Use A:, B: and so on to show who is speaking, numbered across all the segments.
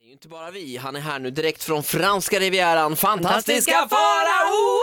A: Det är ju inte bara vi, han är här nu direkt från franska rivieran, fantastiska,
B: Fantastiska
A: farao!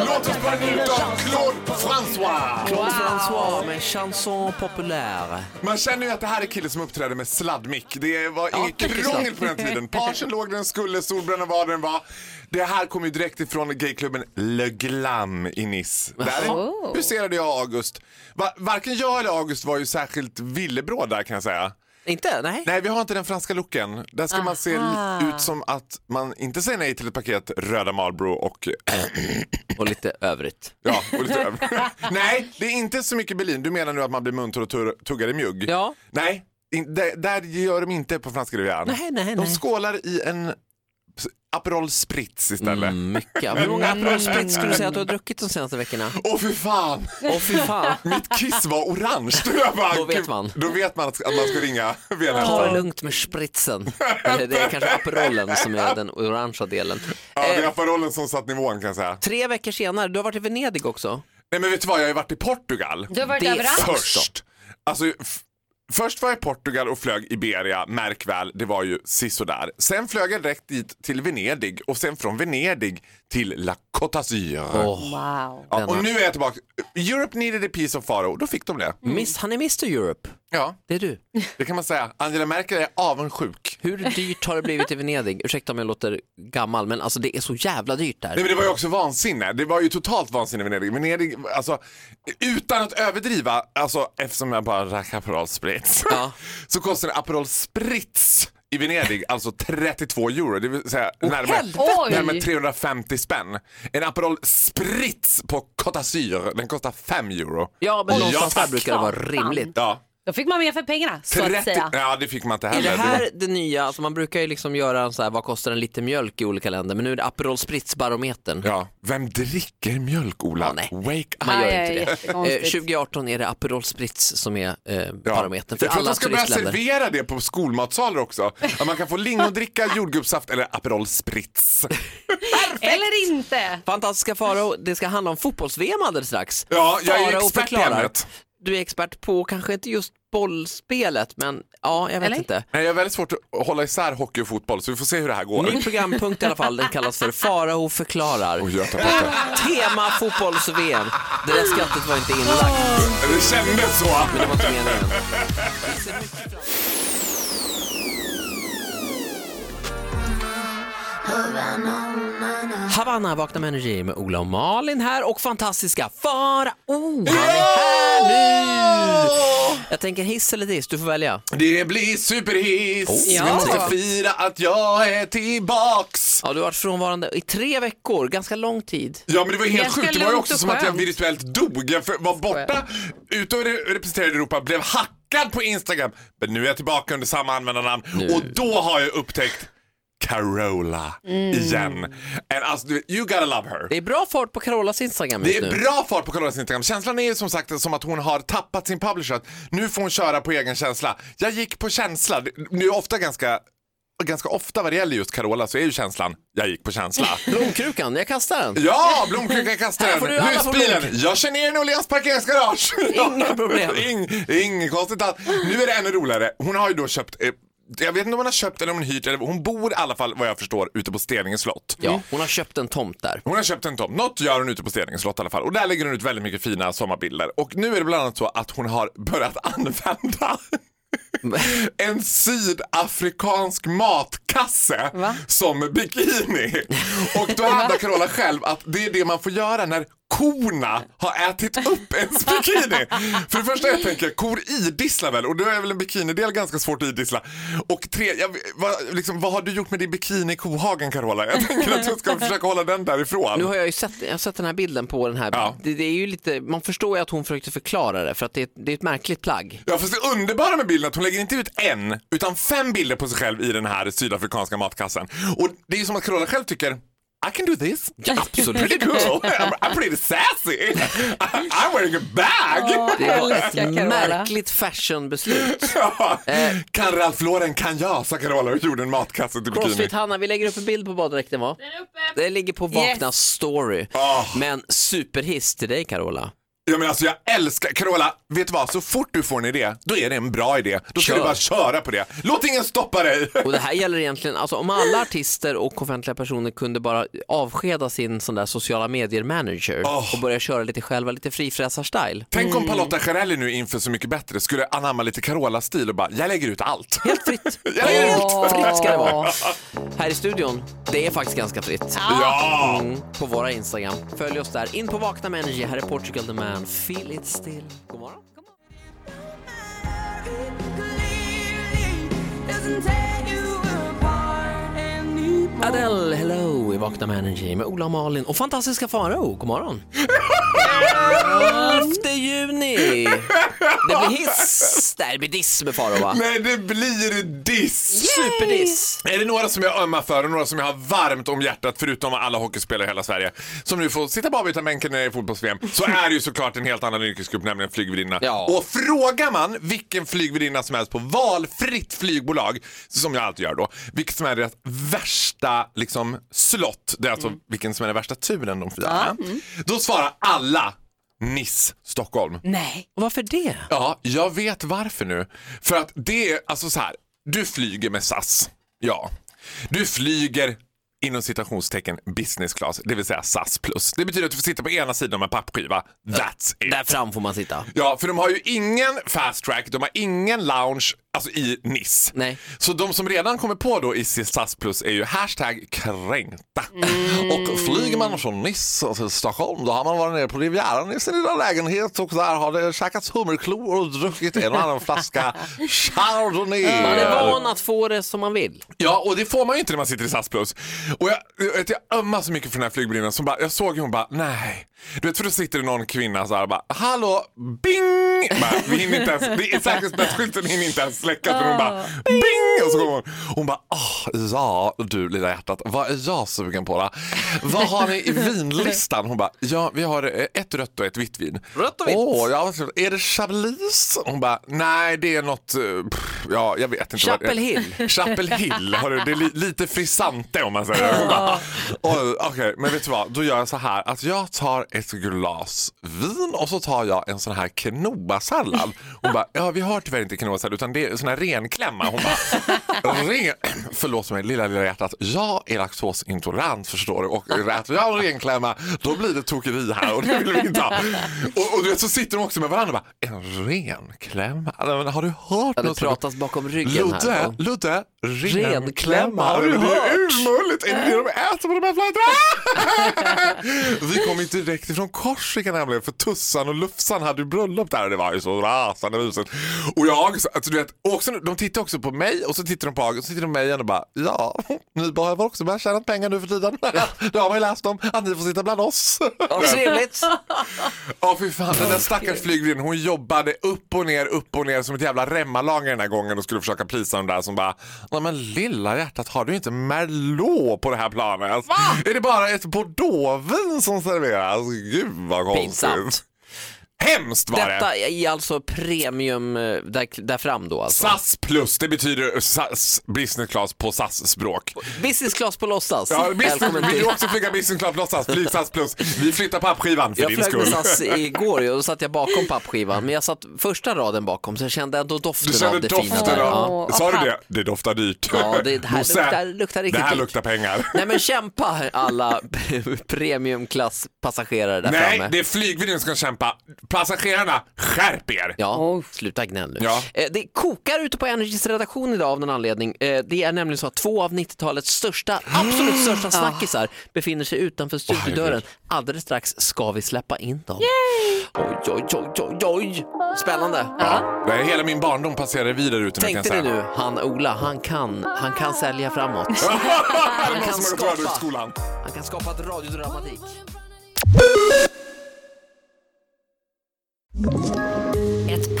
C: Låt oss bara njuta av Claude François!
A: Claude François med chanson populaire.
C: Man känner ju att det här är killen som uppträdde med sladdmick. Det var inget
A: mycket
C: krångel
A: sladd.
C: på den tiden. Parsen låg där den skulle, solbrännan var där den var. Det här kom ju direkt ifrån gayklubben Le Glam i Nice. Där
B: Oh.
C: huserade jag och August. Va- varken jag eller August var ju särskilt villebråd där kan jag säga.
A: Inte? Nej?
C: Nej, vi har inte den franska looken. Där ska man se
B: Aha.
C: ut som att man inte säger nej till ett paket röda Marlboro och
A: Och lite övrigt.
C: Ja, och lite över. Nej, det är inte så mycket Berlin. Du menar nu att man blir munter och tur- tuggar i mjugg?
A: Ja.
C: Nej, in, där, där gör de inte på franska rivieran.
A: Nej, nej,
C: De
A: nej.
C: skålar i en s- Aperol Spritz istället.
A: Mm, mycket. Hur många
C: Mm.
A: Aperol Spritz skulle du säga att du har druckit de senaste veckorna?
C: Åh för fan!
A: Åh fy fan.
C: Mitt kiss var orange. Då, jag bara,
A: Då vet
C: gud,
A: man.
C: Då vet man att att man ska ringa
A: Ta det
C: Venhälsan.
A: lugnt med spritsen. Eller det är kanske Aperolen som är den orangea delen.
C: Ja, det är
A: Eh,
C: Aperolen som satt nivån kan jag säga.
A: tre veckor senare, du har varit i Venedig också.
C: Nej men vet du vad, jag har ju varit i Portugal.
B: Du har varit
A: Det är
B: överallt.
A: sant.
C: Först. Alltså, f- först var jag i Portugal och flög Iberia, märk väl, det var ju sisådär. Sen flög jag direkt dit till Venedig och sen från Venedig till La Côte d'Azur.
A: Åh,
B: Wow.
C: ja,
A: denna-
C: och nu är jag tillbaka. Europe needed a piece of Faro, då fick de det.
A: miss, han är Mr Europe.
C: Ja,
A: Det är du.
C: det kan man säga. Angela Merkel är avundsjuk.
A: Hur dyrt har det blivit i Venedig? Ursäkta om jag låter gammal, men alltså det är så jävla dyrt där.
C: Nej men det var ju också vansinne. Det var ju totalt vansinne i Venedig. Venedig, alltså utan att överdriva, alltså eftersom jag bara drack Aperol Spritz.
A: Ja.
C: Så kostar en Aperol Spritz i Venedig alltså 32 euro, det vill säga närmare,
B: helvete!
C: närmare 350 spänn. En Aperol Spritz på Côte d'Azur, den kostar 5 euro.
A: Ja, men
C: Ja,
A: någonstans där
C: tack.
A: brukar det vara rimligt.
C: Ja,
B: Då fick man mer för pengarna, så att
C: 30,
B: säga.
C: ja det fick man inte
A: Är
C: heller.
A: det
C: var-
A: här det nya, alltså man brukar ju liksom göra en så här, vad kostar en liten mjölk i olika länder, men nu är det Aperol Spritz-barometern.
C: Ja, vem dricker mjölk Ola?
A: Ja, nej.
C: Wake up!
A: Man
B: Aj,
A: gör
B: aj,
A: inte det.
B: jättekonstigt.
A: Eh, 2018 är det Aperol Spritz som är eh,
C: Ja.
A: barometern för
C: jag tror
A: alla
C: att de ska börja
A: turistländer.
C: servera det på skolmatsaler också. Att man kan få lingondricka, jordgubbssaft eller Aperol Spritz.
B: Eller inte.
A: Fantastiska Faro, det ska handla om fotbolls-VM alldeles strax.
C: Ja, jag är
A: Farao
C: expert i
A: förklarar.
C: ämnet.
A: Du är expert på, kanske inte just bollspelet, men ja, jag vet
B: Eller?
A: inte.
C: Nej, jag är väldigt svårt att hålla isär hockey och fotboll så vi får se hur det här går.
A: Ny programpunkt i alla fall, den kallas för Farao förklarar.
C: Oj, jag tappade det.
A: Tema fotbolls-VM. Det där skrattet var inte inlagt,
C: Det kändes så.
A: men det var inte meningen. Havanna, Vakna med Energy med Ola och Malin här och fantastiska Farao, han är här nu! Jag tänker hiss eller diss, du får välja.
C: Det blir superhiss.
A: Oh.
B: Ja.
C: Vi måste fira att jag är tillbaks.
A: Ja, du har varit frånvarande i tre veckor, ganska lång tid.
C: Ja men det var ju helt
B: Ganska
C: sjukt, det var ju
B: lugnt
C: också
B: och
C: som att jag
B: skönt.
C: virtuellt dog. Jag för- var borta, ute och re- representerade Europa, blev hackad på Instagram. Men nu är jag tillbaka under samma användarnamn och då har jag upptäckt Carola
B: Mm.
C: igen. And alltså, du vet, you gotta love her.
A: Det är bra fart på Carolas Instagram
C: Det
A: just
C: är
A: nu.
C: bra fart på Carolas Instagram. Känslan är ju som sagt som att hon har tappat sin publisher. Att Nu får hon köra på egen känsla. Jag gick på känsla. Det- Nu är ofta ganska, ganska ofta vad det gäller just Carola så är ju känslan, jag gick på känsla.
A: Blomkrukan, jag kastar den.
C: Ja, blomkrukan kastar
A: Här får
C: den.
A: du alla
C: Husbilen.
A: får
C: Jag kör ner den i Åhléns parkeringsgarage.
A: Inga problem.
C: Ing, inget konstigt alls. Nu är det ännu roligare. Hon har ju då köpt, eh, jag vet inte om hon har köpt eller om hon hyrt. Eller, hon bor i alla fall vad jag förstår ute på Steninge slott.
A: Ja, Mm. hon har köpt en tomt där.
C: Hon har köpt en tomt. Något gör hon ute på Steninge slott i alla fall. Och där lägger hon ut väldigt mycket fina sommarbilder. Och nu är det bland annat så att hon har börjat använda en sydafrikansk matkasse
B: Va?
C: som bikini. Och då hävdar Carola själv att det är det man får göra när korna har ätit upp ens bikini. För det första jag tänker, kor idisslar väl? Och då är väl en bikinidel ganska svårt att idissla. Och tre, jag, vad, liksom, vad har du gjort med din bikini i kohagen Carola? Jag tänker att du ska försöka hålla den därifrån.
A: Nu har jag ju sett, jag har sett den här bilden på den här.
C: Ja.
A: Det, det är ju lite, man förstår ju att hon försökte förklara det för att det, är ett- det är ett märkligt plagg.
C: Ja fast det underbara med bilden är att hon lägger inte ut en utan fem bilder på sig själv i den här sydafrikanska matkassen. Och det är ju som att Carola själv tycker I can do this. Pretty
A: Absolut.
C: cool. I'm, I'm pretty sassy. I, I'm wearing a bag.
A: Det var ett
B: Älskar Carola.
A: märkligt fashionbeslut.
C: Ja. Kan Ralph Lauren kan jag, sa Carola och gjorde en matkasse till bikini.
A: Crossfit Hanna, vi lägger upp en bild på baddräkten va? Det ligger på Vakna
B: Yes.
A: story.
C: Ah.
A: Men superhiss till dig Carola.
C: Ja, men alltså, jag älskar, Carola, vet du vad? Så fort du får en idé, då är det en bra idé. Då ska
A: Kör.
C: du bara köra på det. Låt ingen stoppa dig.
A: Och det här gäller egentligen, alltså om alla artister och offentliga personer kunde bara avskeda sin sån där sociala medier-manager
C: Ah.
A: och börja köra lite själva, lite frifräsar-style.
C: Tänk om Palotta Jarelli nu inför Så mycket bättre skulle anamma lite Carola-stil och bara, jag lägger ut allt.
A: Helt fritt.
C: Jag lägger ut.
A: Helt fritt ska det vara. Här i studion, det är faktiskt ganska fritt.
C: Ja!
A: Mm, på våra Instagram. Följ oss där. In på Vakna med Energy. Här är Portugal the Man. Feel it still. God morgon. Adele, hello i Vakna med Energy med Ola och Malin och fantastiska Farao. God morgon. 11 juni. Det blir hiss. Det här blir diss med Farao va?
C: Nej, det blir diss.
A: Superdiss.
C: Är det några som jag ömmar för och några som jag har varmt om hjärtat förutom alla hockeyspelare i hela Sverige som nu får sitta på avbytarbänken i fotbolls-VM så är det ju såklart en helt annan yrkesgrupp, nämligen flygvärdinnorna.
A: Ja.
C: Och frågar man vilken flygvärdinna som helst på valfritt flygbolag, som jag alltid gör då, vilket som är deras värsta liksom, slott, det är alltså
A: Mm.
C: vilken som är den värsta turen de firar, då svarar alla Niss Stockholm.
B: Nej.
A: Och Varför det?
C: Ja, jag vet varför nu. För att det är alltså så här. Du flyger med SAS. Ja. Du flyger inom citationstecken business class, det vill säga SAS plus. Det betyder att du får sitta på ena sidan om en pappskiva. That's it.
A: Där fram får man sitta.
C: Ja, för de har ju ingen fast track, de har ingen lounge alltså i Nice.
A: Nej.
C: Så de som redan kommer på då i sitt SAS plus är ju hashtag kränkta. Och flyger man från Nice och till Stockholm då har man varit nere på Rivieran i sin lilla lägenhet och där har det käkats hummerklor och druckit en och annan flaska Chardonnay.
A: Man är van att få det som man vill.
C: Ja, och det får man ju inte när man sitter i SAS Plus. Och jag, jag, vet, jag ömmar så mycket för den här flygbrinnan som bara, jag såg ju hon bara, nej. Du vet, för då sitter det någon kvinna så här bara, hallå, bing! Bara, vi hinner inte ens, det är säkerhetsbältsskylten hinner inte ens släckas. Men hon
A: Ah.
C: bara, bing! Och så kommer hon. Hon bara, ah, ja, du lilla hjärtat, vad är jag sugen på då? Vad har ni i vinlistan? Hon bara, ja, vi har eh, ett rött och ett vitt vin.
A: Rött och vitt.
C: Åh, ja, vad trevligt. är det Chablis? Hon bara, nej, det är något, eh, pff, ja, jag vet inte. Alltså, vad det är."
A: Chapel Hill.
C: Chapel Hill, har du, det är li, lite frisante om man säger Hon bara, "Oj, Okej, men vet du vad? Då gör jag så här att jag tar ett glas vin och så tar jag en sån här quinoa-sallad. Hon bara, ja vi har tyvärr inte quinoa-sallad utan det är sån här renklämma. Hon bara, ren, förlåt mig lilla lilla hjärtat, jag är laktosintolerant förstår du och äter jag en renklämma då blir det tokeri här och det vill vi inte ha. Och, och du vet, så sitter de också med varandra och bara, en renklämma? Nej, men Har du hört
A: Ja, Det
C: något sånt?"
A: pratas bakom ryggen här.
C: Ludde,
A: Ja.
C: Ludde,
A: Renklämma,
C: renklämma.
A: har du
C: det
A: hört?
C: är urmulligt. Är det det de äter på de här flighterna? Vi kom ju direkt ifrån Korsika nämligen för Tussan och Lufsan hade ju bröllop där och det var ju så rasande mysigt. Och jag, alltså, du vet, och också, de tittade också på mig och så tittade de på August och så tittade de på mig igen och bara ja, ni behöver också börja tjäna pengar nu för tiden. Det har man ju läst om, att ni får sitta bland oss.
A: Ja, Trevligt.
C: Ja fy fan, den där stackars flygvärdinnan hon jobbade upp och ner, upp och ner som ett jävla remmarlag den här gången och skulle försöka plisa de där som bara Nej men lilla hjärtat, har du inte Merlot på det här planet? Är det bara ett bordeauxvin som serveras? Gud vad konstigt.
A: Pinsamt.
C: Hemskt var det.
A: Detta är alltså premium eh, där, där fram då alltså.
C: SAS plus, det betyder SAS business class på SAS-språk.
A: Business class på låtsas.
C: Ja, business,
A: Välkommen
C: vill
A: till.
C: du också flyga business class på SAS? Flyg SAS plus. Vi flyttar pappskivan för
A: Jag
C: din
A: flög
C: skull.
A: med SAS igår ju, och då satt jag bakom pappskivan, men jag satt första raden bakom så jag kände ändå doften
C: Du kände
A: av det fina där.
C: doften
A: Ja.
C: av...
B: Ja.
C: Sa du
B: Av
C: det? Det doftar dyrt.
A: Ja, det- det här
C: Bosse,
A: luktar- luktar riktigt
C: Det här
A: dyrt.
C: luktar pengar.
A: Nej men kämpa alla premiumklasspassagerare där
C: Nej,
A: framme.
C: det är flygvärdinnan som ska kämpa. Passagerarna, skärp er!
A: Ja,
B: Oh.
A: sluta gnäll nu.
C: Ja.
A: Eh, Det kokar ute på Energys redaktion idag av någon anledning. Eh, Det är nämligen så att två av 90-talets största, absolut
C: Ah.
A: största snackisar befinner sig utanför studiodörren.
C: herregud.
A: Alldeles strax ska vi släppa in dem. Oj, oj, oj, oj, oj. Spännande.
C: Ja. det är Hela min barndom passerade vidare ute nu, kan jag
A: Tänkte ni
C: säga.
A: nu, han Ola, han kan, han kan sälja framåt.
C: det är
A: kan
C: någon som har gått färdigt
A: skapa.
C: i skolan.
A: Han kan skapa ett radiodramatik.
D: Ett